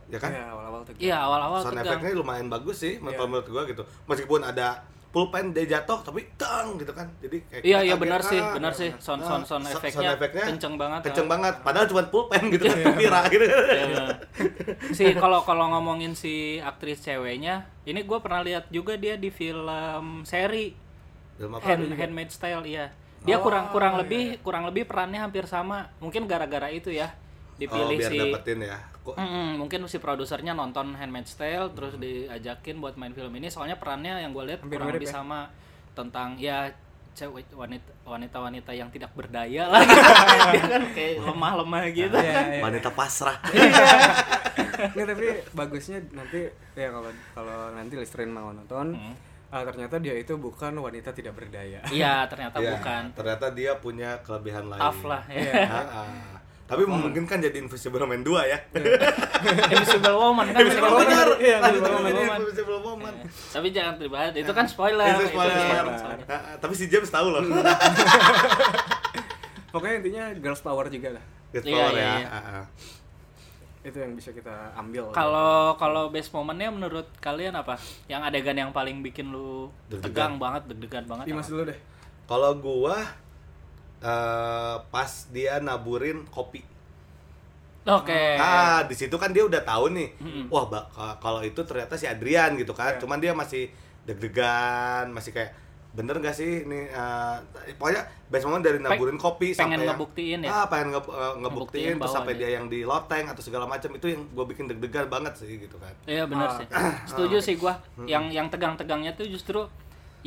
Speaker 3: Ya kan?
Speaker 1: Iya, awal-awal tuh.
Speaker 2: iya awal-awal
Speaker 3: Sound
Speaker 2: tegang Iya.
Speaker 3: efeknya lumayan bagus sih kalau menurut gua gitu. Meskipun ada pulpen dia jatuh tapi tang gitu kan. Jadi kayak
Speaker 2: Iya
Speaker 3: kita
Speaker 2: iya
Speaker 3: kaget,
Speaker 2: benar sih,
Speaker 3: ah,
Speaker 2: benar sih. Sound
Speaker 3: ah,
Speaker 2: sound sound
Speaker 3: so-
Speaker 2: efeknya kenceng banget. ah.
Speaker 3: Kenceng banget. Padahal cuma pulpen gitu kan, [LAUGHS] kira gitu.
Speaker 2: Iya. si kalau kalau ngomongin si aktris ceweknya, ini gue pernah lihat juga dia di film seri
Speaker 3: Dalam apa? Oh, iya,
Speaker 2: Hand, Handmade Style iya. Dia kurang kurang lebih kurang lebih perannya hampir sama. Mungkin gara-gara itu ya dipilih
Speaker 3: oh, biar
Speaker 2: si
Speaker 3: dapetin ya. Kok
Speaker 2: Mm-mm, mungkin si produsernya nonton Handmade Style terus diajakin buat main film ini soalnya perannya yang gue lihat
Speaker 1: Hampir
Speaker 2: kurang
Speaker 1: mirip ya.
Speaker 2: lebih sama tentang ya cewek wanita wanita wanita yang tidak berdaya lah [LAUGHS] dia kan kayak lemah lemah gitu
Speaker 1: Iya, iya.
Speaker 3: wanita pasrah.
Speaker 1: Nggak, tapi bagusnya nanti ya kalau kalau nanti listerin mau nonton ah, ternyata dia itu bukan wanita tidak berdaya. [LAUGHS]
Speaker 2: iya ternyata
Speaker 3: Iya,
Speaker 2: bukan
Speaker 3: Ternyata dia punya kelebihan lain.
Speaker 2: tough lah ya.
Speaker 3: Ah, ah. Tapi memungkinkan jadi Invisible Man 2 ya.
Speaker 2: Iya. Invisible Woman kan.
Speaker 3: Invisible
Speaker 1: Woman.
Speaker 3: Benar.
Speaker 1: Iya,
Speaker 3: Lanjut
Speaker 1: Invisible
Speaker 3: jadi
Speaker 2: Woman.
Speaker 3: Invisible Woman.
Speaker 2: Iya, Tapi jangan dibahas, itu kan spoiler.
Speaker 3: Itu spoiler.
Speaker 2: soalnya.
Speaker 3: Ah, ah, Tapi si James tahu loh.
Speaker 1: Pokoknya intinya girls power juga lah.
Speaker 3: Good
Speaker 2: Iya,
Speaker 3: power
Speaker 2: iya,
Speaker 3: ya.
Speaker 2: iya.
Speaker 3: Ah, ah.
Speaker 1: Itu yang bisa kita ambil.
Speaker 2: Kalau kalau best momennya menurut kalian apa? Yang adegan yang paling bikin lu
Speaker 3: Deg-degan.
Speaker 2: tegang banget, deg-degan
Speaker 3: Iya,
Speaker 2: banget.
Speaker 1: Dimas
Speaker 2: apa?
Speaker 1: dulu deh.
Speaker 3: Kalau gua eh, pas dia naburin kopi.
Speaker 2: Oke.
Speaker 3: Ah, di situ kan dia udah tahu nih. Wah, Mbak, ka- kalau itu ternyata si Adrian gitu
Speaker 2: Iya.
Speaker 3: kan. Cuman dia masih deg-degan, masih kayak bener gak sih ini eh, pokoknya best moment dari naburin kopi
Speaker 2: pengen
Speaker 3: sampai yang-
Speaker 2: ngebuktiin ya?
Speaker 3: Ah, pengen nge- eh, ngebuktiin terus
Speaker 2: bahwa
Speaker 3: sampai
Speaker 2: dia-
Speaker 3: dia yang di loteng atau segala macam itu yang gue bikin deg-degan banget sih gitu kan.
Speaker 2: Iya benar sih. Setuju sih gua. Yang yang tegang-tegangnya tuh justru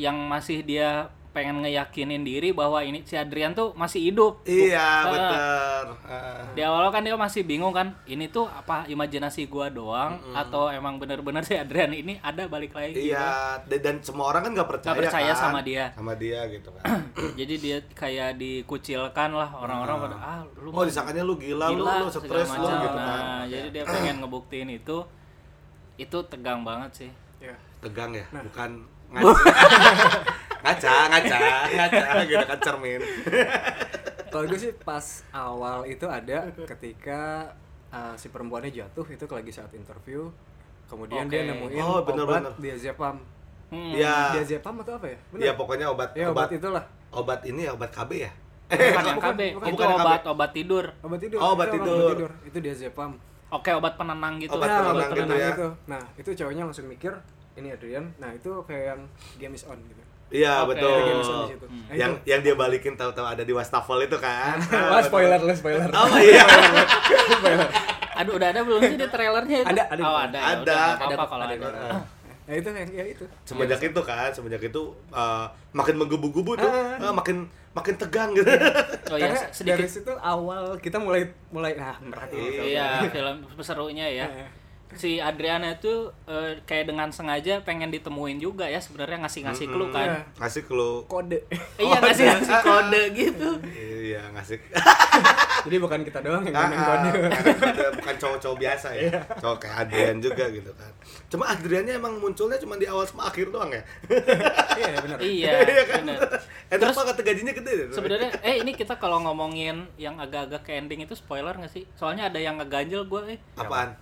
Speaker 2: yang masih dia pengen ngeyakinin diri bahwa ini si Adrian tuh masih hidup.
Speaker 3: Iya,
Speaker 2: Ah.
Speaker 3: bener. Ah.
Speaker 2: Di awal kan dia masih bingung kan, ini tuh apa imajinasi gua doang atau emang bener-bener si Adrian ini ada balik lagi gitu.
Speaker 3: Iya, dan- dan semua orang kan gak percaya,
Speaker 2: Nggak percaya
Speaker 3: kan?
Speaker 2: sama dia.
Speaker 3: Sama dia gitu
Speaker 2: [CLEARS THROAT]
Speaker 3: kan.
Speaker 2: jadi dia kayak dikucilkan lah orang-orang pada ah lu
Speaker 3: Oh disangkanya lu gila, lu, lu
Speaker 2: segala
Speaker 3: stres lu
Speaker 2: macam.
Speaker 3: gitu kan
Speaker 2: nah jadi dia pengen ngebuktiin itu itu tegang banget sih
Speaker 1: Ya.
Speaker 3: Tegang ya, bukan
Speaker 1: [LAUGHS]
Speaker 3: ngaca Ngaca, ngaca, ngaca gitu kan cermin
Speaker 1: Kalau gue sih pas awal itu ada ketika uh, si perempuannya jatuh itu lagi saat interview. Kemudian dia
Speaker 2: Oke.
Speaker 1: nemuin
Speaker 3: Oh, bener,
Speaker 1: obat
Speaker 3: bener.
Speaker 1: diazepam.
Speaker 2: hmm.
Speaker 3: Iya,
Speaker 1: Diazepam atau apa ya? Bener.
Speaker 3: iya pokoknya obat,
Speaker 1: Ya,
Speaker 3: obat,
Speaker 1: obat, itulah.
Speaker 3: obat ini ya, obat KB ya?
Speaker 2: bukan yang KB
Speaker 1: bukan,
Speaker 2: itu
Speaker 3: bukan yang KB.
Speaker 2: obat obat tidur
Speaker 1: Obat tidur.
Speaker 3: Oh, obat
Speaker 1: Itu orang
Speaker 3: tidur.
Speaker 1: Itu diazepam.
Speaker 2: oke obat penenang gitu
Speaker 3: Obat
Speaker 1: Nah,
Speaker 3: penenang
Speaker 1: obat
Speaker 3: gitu
Speaker 1: penenang
Speaker 3: ya.
Speaker 1: itu. Nah, itu cowoknya langsung mikir ini Adrian. Nah, itu kayak yang game is on gitu.
Speaker 3: Iya
Speaker 2: Oke.
Speaker 3: betul.
Speaker 1: Ada gamesan di situ. Nah,
Speaker 3: Yang [LAUGHS] yang dia balikin tahu-tahu ada di wastafel itu kan.
Speaker 1: [LAUGHS] Wah, spoiler lu, [LAUGHS] spoiler.
Speaker 3: Oh iya.
Speaker 2: aduh udah ada belum sih di trailernya itu
Speaker 1: Ada, ada.
Speaker 2: oh ada ya,
Speaker 3: Ada.
Speaker 2: udah, nggak apa-apa kalau
Speaker 1: Ada,
Speaker 2: ada,
Speaker 1: ada. Nah, itu yang ya itu.
Speaker 3: Semenjak itu kan, semenjak itu eh, makin menggebu-gebu tuh,
Speaker 1: Ah.
Speaker 3: eh, makin makin tegang gitu.
Speaker 1: Iya.
Speaker 3: [LAUGHS]
Speaker 2: oh ya
Speaker 1: Karena
Speaker 2: sedikit
Speaker 1: dari situ awal kita mulai mulai nah merhatiin Eh, itu.
Speaker 2: Iya, film serunya
Speaker 1: Iya,
Speaker 2: ya. Si Adriana itu eh, kayak dengan sengaja pengen ditemuin juga ya kan.
Speaker 3: Iya.
Speaker 2: sebenarnya ngasih-ngasih clue kan.
Speaker 3: Ngasih clue.
Speaker 1: kode. Oh,
Speaker 2: Iya ngasih ngasih kode gitu.
Speaker 3: Iya, ngasih.
Speaker 1: Jadi bukan kita doang yang
Speaker 3: Ah,
Speaker 1: ngomongin
Speaker 3: ah,
Speaker 1: kode. [LAUGHS]
Speaker 3: bukan- bukan cowok-cowok biasa ya
Speaker 4: Iya.
Speaker 3: cowok kayak Adrian juga gitu kan cuma Adriannya emang munculnya cuma di awal sama akhir doang ya
Speaker 1: Iya, benar.
Speaker 2: iya
Speaker 3: kan
Speaker 2: bener
Speaker 3: enak banget gajinya gede deh.
Speaker 2: sebenarnya eh ini kita kalau ngomongin yang agak-agak ke ending itu spoiler nggak sih soalnya ada yang ngeganjel gue eh
Speaker 3: apaan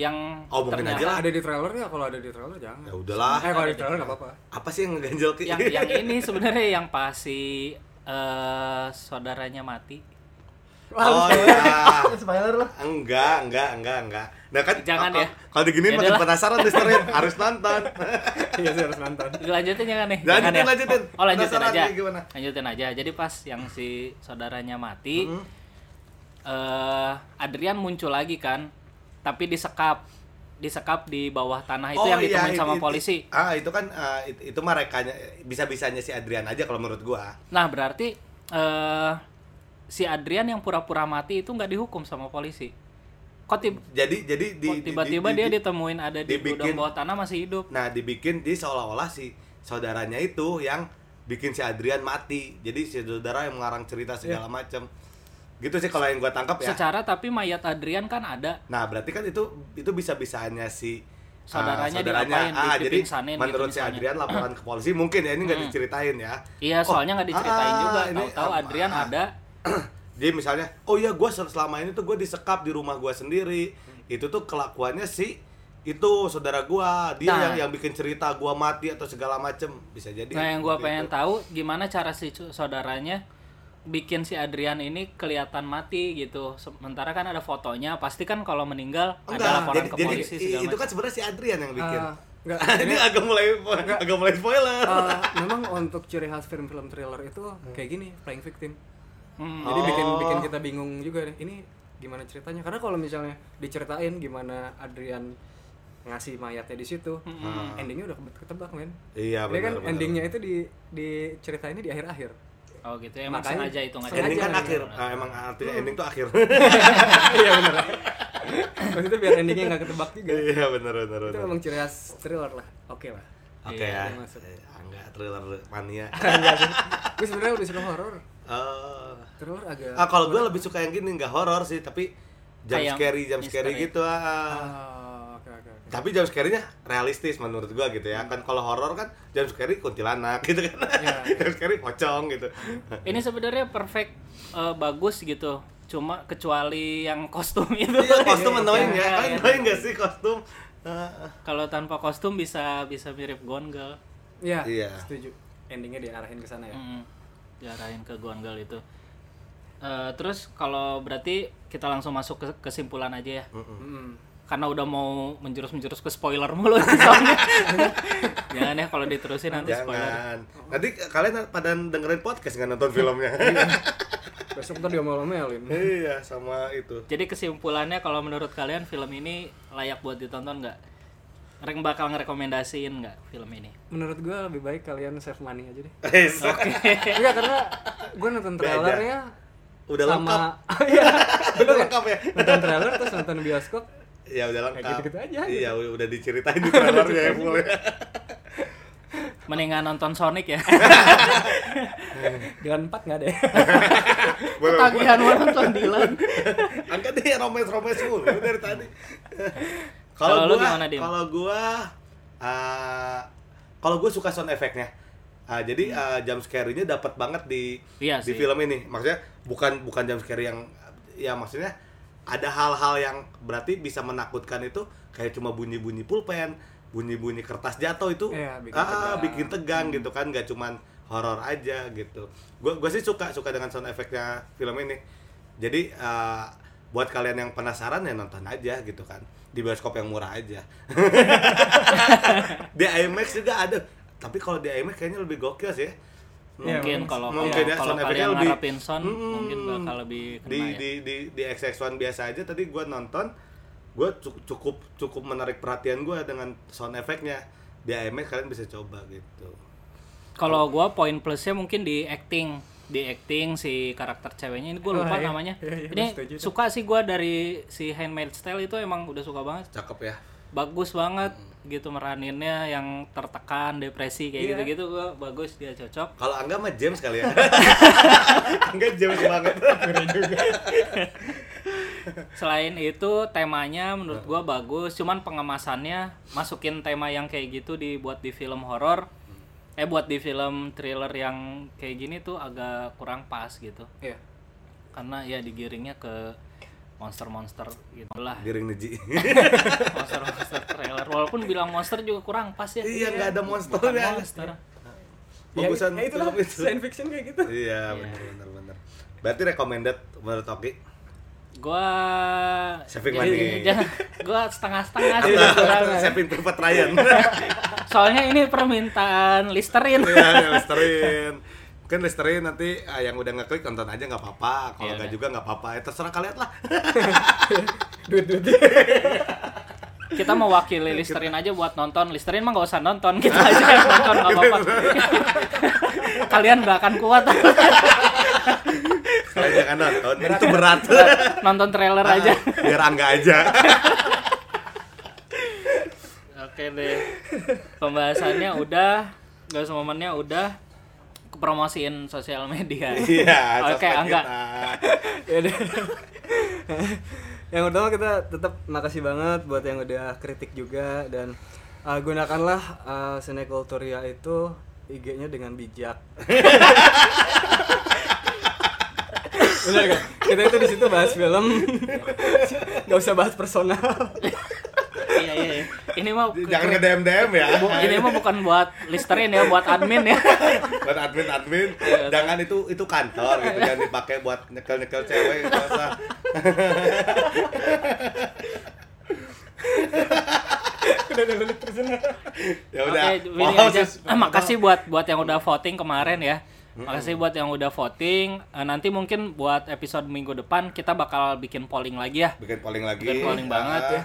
Speaker 2: yang
Speaker 3: Oh, mungkin aja lah.
Speaker 1: Ada di trailer ya, kalau ada di trailer jangan.
Speaker 3: ya udahlah
Speaker 1: eh, kalau di trailer enggak apa-apa.
Speaker 3: apa sih yang ngeganjel ke
Speaker 2: yang yang ini sebenarnya yang pasti eh saudaranya mati
Speaker 3: oh ya
Speaker 4: [LAUGHS] Spoiler lah.
Speaker 3: enggak enggak enggak enggak nah kan
Speaker 2: Jangan
Speaker 3: kalau-
Speaker 2: ya.
Speaker 3: kalau diginiin
Speaker 2: Ya
Speaker 3: makin
Speaker 2: udahlah.
Speaker 3: penasaran disterin harus nonton
Speaker 1: [LAUGHS] Iya, sih, harus nonton.
Speaker 2: Lanjutin jangan nih.
Speaker 3: Lanjutin,
Speaker 2: Jangan ya?
Speaker 3: lanjutin.
Speaker 2: Oh, lanjutin
Speaker 3: Penasaran
Speaker 2: aja.
Speaker 3: nih gimana.
Speaker 2: Lanjutin aja. Jadi pas yang si saudaranya mati, eh
Speaker 3: Mm-hmm.
Speaker 2: Adrian muncul lagi kan, tapi disekap, disekap di bawah tanah [LAUGHS] itu yang
Speaker 3: iya,
Speaker 2: ditemuin
Speaker 3: it-
Speaker 2: sama
Speaker 3: it-
Speaker 2: polisi.
Speaker 3: ah itu kan ah, it- itu mah rekanya bisa-bisanya si Adrian aja kalau menurut gua
Speaker 2: Nah berarti eh si Adrian yang pura-pura mati itu nggak dihukum sama polisi. Kok tib-
Speaker 3: jadi jadi di-
Speaker 2: kok
Speaker 3: di-
Speaker 2: tiba-tiba
Speaker 3: di-
Speaker 2: dia
Speaker 3: di-
Speaker 2: ditemuin ada di
Speaker 3: dibikin-
Speaker 2: gudang bawah tanah masih hidup?
Speaker 3: Nah, dibikin di seolah-olah si saudaranya itu yang bikin si Adrian mati. Jadi si saudara yang mengarang cerita
Speaker 2: Iya.
Speaker 3: segala macam. Gitu sih kalau yang gua tangkap ya.
Speaker 2: Secara tapi mayat Adrian kan ada.
Speaker 3: Nah, berarti kan itu itu bisa-bisanya si ah,
Speaker 2: Saudaranya diapain,
Speaker 3: ah, jadi
Speaker 2: dipipingsanin gitu
Speaker 3: menurut si
Speaker 2: misalnya. Hmm.
Speaker 3: Adrian laporan ke polisi mungkin ya ini nggak diceritain ya.
Speaker 2: Iya,
Speaker 3: Oh,
Speaker 2: soalnya nggak diceritain
Speaker 3: ah,
Speaker 2: juga.
Speaker 3: ini,
Speaker 2: Tahu-tahu
Speaker 3: ah,
Speaker 2: Adrian
Speaker 3: ah.
Speaker 2: ada.
Speaker 3: [CLEARS THROAT] Jadi misalnya, oh iya gua sel- selama ini tuh gue disekap di rumah gua sendiri.
Speaker 2: Hmm.
Speaker 3: Itu tuh kelakuannya si itu saudara gua, dia
Speaker 2: Nah.
Speaker 3: yang yang bikin cerita gua mati atau segala macem bisa jadi.
Speaker 2: Nah, yang gua
Speaker 3: seperti
Speaker 2: pengen
Speaker 3: itu.
Speaker 2: tahu gimana cara si cu- saudaranya bikin si Adrian ini kelihatan mati gitu. Sementara kan ada fotonya, pasti kan kalau meninggal ada
Speaker 3: Enggak,
Speaker 2: laporan
Speaker 3: jadi,
Speaker 2: ke
Speaker 3: jadi
Speaker 2: polisi
Speaker 3: i-
Speaker 2: segala
Speaker 3: itu
Speaker 2: macam.
Speaker 3: kan sebenarnya si Adrian yang bikin.
Speaker 1: Ah, enggak.
Speaker 3: [LAUGHS] ini agak mulai agak mulai spoiler.
Speaker 2: Oh,
Speaker 1: Eh, memang untuk ciri khas film-film thriller itu kayak gini, playing victim.
Speaker 2: Hmm.
Speaker 1: Jadi bikin
Speaker 3: Oh.
Speaker 1: bikin kita bingung juga nih. Ini gimana ceritanya? Karena kalau misalnya diceritain gimana Adrian ngasih mayatnya di situ, endingnya udah kebet- ketebak men.
Speaker 3: Iya,
Speaker 1: Ini kan
Speaker 3: benar, benar.
Speaker 1: endingnya itu di di ceritainnya di
Speaker 3: [LAUGHS]
Speaker 1: akhir-akhir.
Speaker 2: Oh gitu, emang
Speaker 1: Makanya
Speaker 2: sengaja Hmm. itu nggak Nah,
Speaker 1: sengaja.
Speaker 3: ending kan
Speaker 1: Aja.
Speaker 3: akhir. Ah, emang artinya ending tuh
Speaker 2: [LAUGHS]
Speaker 3: akhir.
Speaker 1: Iya benar. Maksudnya biar endingnya nggak ketebak juga.
Speaker 3: Iya benar benar
Speaker 1: Itu
Speaker 3: benar.
Speaker 1: memang ciri khas thriller lah. Oke lah.
Speaker 2: Iya,
Speaker 3: Oke ya.
Speaker 1: dia masuk.
Speaker 3: Eh, Enggak thriller
Speaker 2: [LAUGHS]
Speaker 3: mania.
Speaker 1: Gue sebenarnya udah suka horor.
Speaker 3: Eh,
Speaker 1: Thriller agak
Speaker 3: ah kalau gue lebih suka yang gini nggak horor sih tapi jump
Speaker 2: Kayak
Speaker 3: scary jump scary
Speaker 2: misteri.
Speaker 3: gitu ah.
Speaker 1: Ah, oke oke oke.
Speaker 3: tapi jump scary-nya realistis menurut gua gitu ya kan kalau horor kan jump scary kuntilanak [LAUGHS] gitu kan jump scary pocong gitu
Speaker 2: Ini sebenarnya perfect eh, bagus gitu. Cuma kecuali yang kostum [LAUGHS] itu.
Speaker 3: iya kostum annoying
Speaker 2: Iya,
Speaker 3: ya kan
Speaker 2: iya.
Speaker 3: annoying nggak sih kostum Ah, ah.
Speaker 2: Kalau tanpa kostum bisa bisa mirip Gone Girl.
Speaker 1: Iya,
Speaker 3: Iya.
Speaker 1: setuju. Endingnya diarahin ke sana ya.
Speaker 2: Mm, diarahin ke Gone Girl itu. Eh, terus kalau berarti kita langsung masuk ke kesimpulan aja ya.
Speaker 1: Mm-mm.
Speaker 2: karena udah mau menjurus-menjurus ke spoiler mulu nih
Speaker 3: [LAUGHS]
Speaker 2: soalnya. Jangan ya kalau diterusin nanti spoiler.
Speaker 3: jangan nanti kalian pada dengerin podcast nggak nonton filmnya
Speaker 1: Besok ntar diomel-omelin. [LAUGHS]
Speaker 3: iya sama itu
Speaker 2: Jadi kesimpulannya kalau menurut kalian film ini layak buat ditonton nggak? Reng bakal ngerekomendasiin nggak film ini? [LAUGHS]
Speaker 1: Menurut gue lebih baik kalian save money aja deh. Eh,
Speaker 3: oke
Speaker 1: Enggak karena gue nonton
Speaker 3: Be aja.
Speaker 1: trailernya
Speaker 3: udah lengkap
Speaker 1: [LAUGHS] sama iya
Speaker 3: [LAUGHS] udah
Speaker 1: bener ya?
Speaker 3: lengkap ya
Speaker 1: Nonton trailer terus nonton bioskop.
Speaker 3: ya udah lengkap
Speaker 1: gitu-gitu aja, gitu.
Speaker 3: iya u- udah diceritain di trailernya ya full ya
Speaker 2: Mendingan nonton Sonic ya.
Speaker 1: Dengan 4 enggak
Speaker 3: [LAUGHS]
Speaker 1: deh.
Speaker 3: Boleh,
Speaker 2: Tagihan banget nonton Dylan.
Speaker 3: [LAUGHS] angkat deh romes-romes mulu dari
Speaker 2: [LAUGHS]
Speaker 3: tadi
Speaker 2: Kalau
Speaker 3: kalau
Speaker 2: lu
Speaker 3: gua
Speaker 2: gimana, Dim?
Speaker 3: kalau gua eh, kalau gua suka sound efeknya Ah, jadi eh, jump scare-nya dapat banget di
Speaker 2: Iya
Speaker 3: di
Speaker 2: sih.
Speaker 3: film ini maksudnya bukan bukan jump scare yang ya maksudnya ada hal-hal yang berarti bisa menakutkan itu kayak cuma bunyi-bunyi pulpen bunyi-bunyi kertas jatuh itu
Speaker 1: Iya, bikin
Speaker 3: ah, ah,
Speaker 1: tegang. Hmm.
Speaker 3: bikin tegang gitu kan gak cuman horor aja gitu gue gue sih suka suka dengan sound efeknya film ini jadi eh, buat kalian yang penasaran ya nonton aja gitu kan di bioskop yang murah aja [LAUGHS] di IMAX juga ada tapi kalau di IMAX kayaknya lebih gokil sih ya.
Speaker 2: Mungkin kalau
Speaker 3: Mungkin ya,
Speaker 2: kalau
Speaker 3: sound effect-nya
Speaker 2: kalian
Speaker 3: lebih-
Speaker 2: ngarepin sound
Speaker 3: Mm,
Speaker 2: mungkin bakal lebih kena
Speaker 3: di
Speaker 2: ya.
Speaker 3: di di di XX1 biasa aja tadi gua nonton gue cukup cukup menarik perhatian gua dengan sound efeknya di IMAX kalian bisa coba gitu
Speaker 2: Kalau gua poin plusnya mungkin di acting, di acting si karakter ceweknya ini gua lupa
Speaker 1: Wah, iya.
Speaker 2: namanya.
Speaker 1: Iya, iya,
Speaker 2: ini
Speaker 1: gua setuju tuh.
Speaker 2: suka sih gua dari si Handmade Style itu emang udah suka banget,
Speaker 3: cakep ya
Speaker 2: bagus banget. gitu meraninnya yang tertekan depresi kayak
Speaker 1: Iya.
Speaker 2: gitu-gitu gua bagus dia cocok
Speaker 3: Kalau Angga mah James kali ya. Angga James banget.
Speaker 2: selain itu temanya menurut gua bagus cuman pengemasannya masukin tema yang kayak gitu dibuat di film horor eh buat di film thriller yang kayak gini tuh agak kurang pas gitu
Speaker 1: Iya.
Speaker 2: karena ya digiringnya ke monster-monster gitu lah
Speaker 3: Giring Neji.
Speaker 2: [LAUGHS] monster-monster trailer walaupun bilang monster juga kurang pas ya
Speaker 3: Iya, nggak ada monster
Speaker 2: Bukan
Speaker 3: ya.
Speaker 2: monster
Speaker 3: Bagusan
Speaker 1: ya, ya itulah
Speaker 3: film itu.
Speaker 1: science fiction kayak gitu.
Speaker 3: Iya, benar benar benar. Berarti recommended menurut Oki.
Speaker 2: gua
Speaker 3: Saving
Speaker 2: jadi- [LAUGHS]
Speaker 3: money. Iya.
Speaker 2: jangan- gua setengah-setengah sih
Speaker 3: Atau
Speaker 2: kurang.
Speaker 3: Saving Private Ryan.
Speaker 2: soalnya ini permintaan listerin
Speaker 3: Iya, ya, Listerine. Mungkin Listerine nanti ah, yang udah ngeklik nonton aja nggak apa-apa. Kalau
Speaker 2: Iya,
Speaker 3: nggak
Speaker 2: udah.
Speaker 3: juga nggak apa-apa. Ya, terserah kalian lah.
Speaker 1: Duit-duit.
Speaker 2: kita mewakili listerin aja buat nonton listerin mah nggak usah nonton kita aja yang nonton nggak
Speaker 3: [LAUGHS]
Speaker 2: apa-apa kalian nggak akan kuat [LAUGHS]
Speaker 3: Kalian jangan nonton. Itu berat. Ah,
Speaker 2: nonton trailer aja
Speaker 3: Biar Angga
Speaker 2: [LAUGHS]
Speaker 3: aja.
Speaker 2: Oke deh. Pembahasannya udah, gak usah momennya udah promosiin sosial media.
Speaker 3: Iya,
Speaker 2: Oke,
Speaker 3: sosmed
Speaker 2: Angga.
Speaker 3: kita.
Speaker 1: Ya udah. [LAUGHS] yang utama kita tetap makasih banget buat yang udah kritik juga dan uh, gunakanlah uh, Sineculturia itu IG-nya dengan bijak. [LAUGHS] Benar gak? Kita itu di situ bahas film, [LAUGHS] nggak usah bahas personal.
Speaker 2: iya, iya, iya. Ini mah
Speaker 3: Jangan ke DM DM ya.
Speaker 2: bu- ini mah bukan buat listerin ya, buat admin ya.
Speaker 3: buat admin admin.
Speaker 2: Iya,
Speaker 3: Jangan itu itu kantor gitu jangan dipakai buat nyekel nyekel cewek gitu usah. ya udah.
Speaker 2: Oke, ini
Speaker 3: Wow,
Speaker 2: aja.
Speaker 3: sus-
Speaker 2: Eh, makasih buat buat yang udah voting kemarin ya. Makasih buat yang udah voting. Eh, nanti mungkin buat episode minggu depan kita bakal bikin polling lagi ya.
Speaker 3: Bikin polling lagi.
Speaker 2: Bikin polling banget
Speaker 3: Ah,
Speaker 2: ya.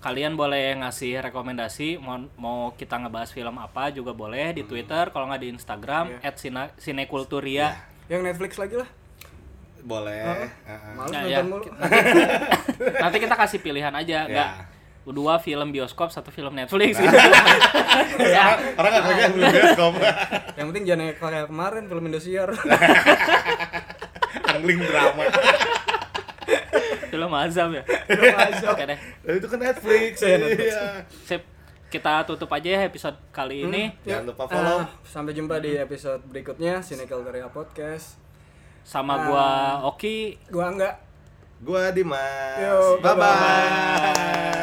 Speaker 2: Kalian boleh ngasih rekomendasi mau, mau kita ngebahas film apa juga boleh di Twitter, kalau nggak di Instagram @sina- @sinekulturia.
Speaker 1: Yang Netflix lagi lah.
Speaker 3: Boleh. Ah, ah.
Speaker 1: Malu
Speaker 2: Nah,
Speaker 1: nonton
Speaker 2: ya.
Speaker 1: mulu.
Speaker 2: Nanti kita kasih pilihan aja, nggak
Speaker 3: Ya.
Speaker 2: dua film bioskop, satu film Netflix. gitu. [LAUGHS] ya.
Speaker 3: Orang nggak kerja belum bioskop.
Speaker 1: [LAUGHS] Yang penting jangan kayak- kayak kemarin film Indosiar.
Speaker 3: Angling drama.
Speaker 2: Film azam ya. Oke deh.
Speaker 3: Tapi itu kan Netflix.
Speaker 1: Iya, Netflix.
Speaker 3: Iya.
Speaker 2: Sip. Kita tutup aja ya episode kali ini.
Speaker 3: Jangan lupa
Speaker 1: Ah,
Speaker 3: follow.
Speaker 1: sampai jumpa di episode berikutnya Sineculturia Podcast.
Speaker 2: Sama gua Oki.
Speaker 1: Gua enggak.
Speaker 3: Gua Dimas.
Speaker 1: Yo,
Speaker 3: Bye
Speaker 1: bye-bye.
Speaker 3: bye.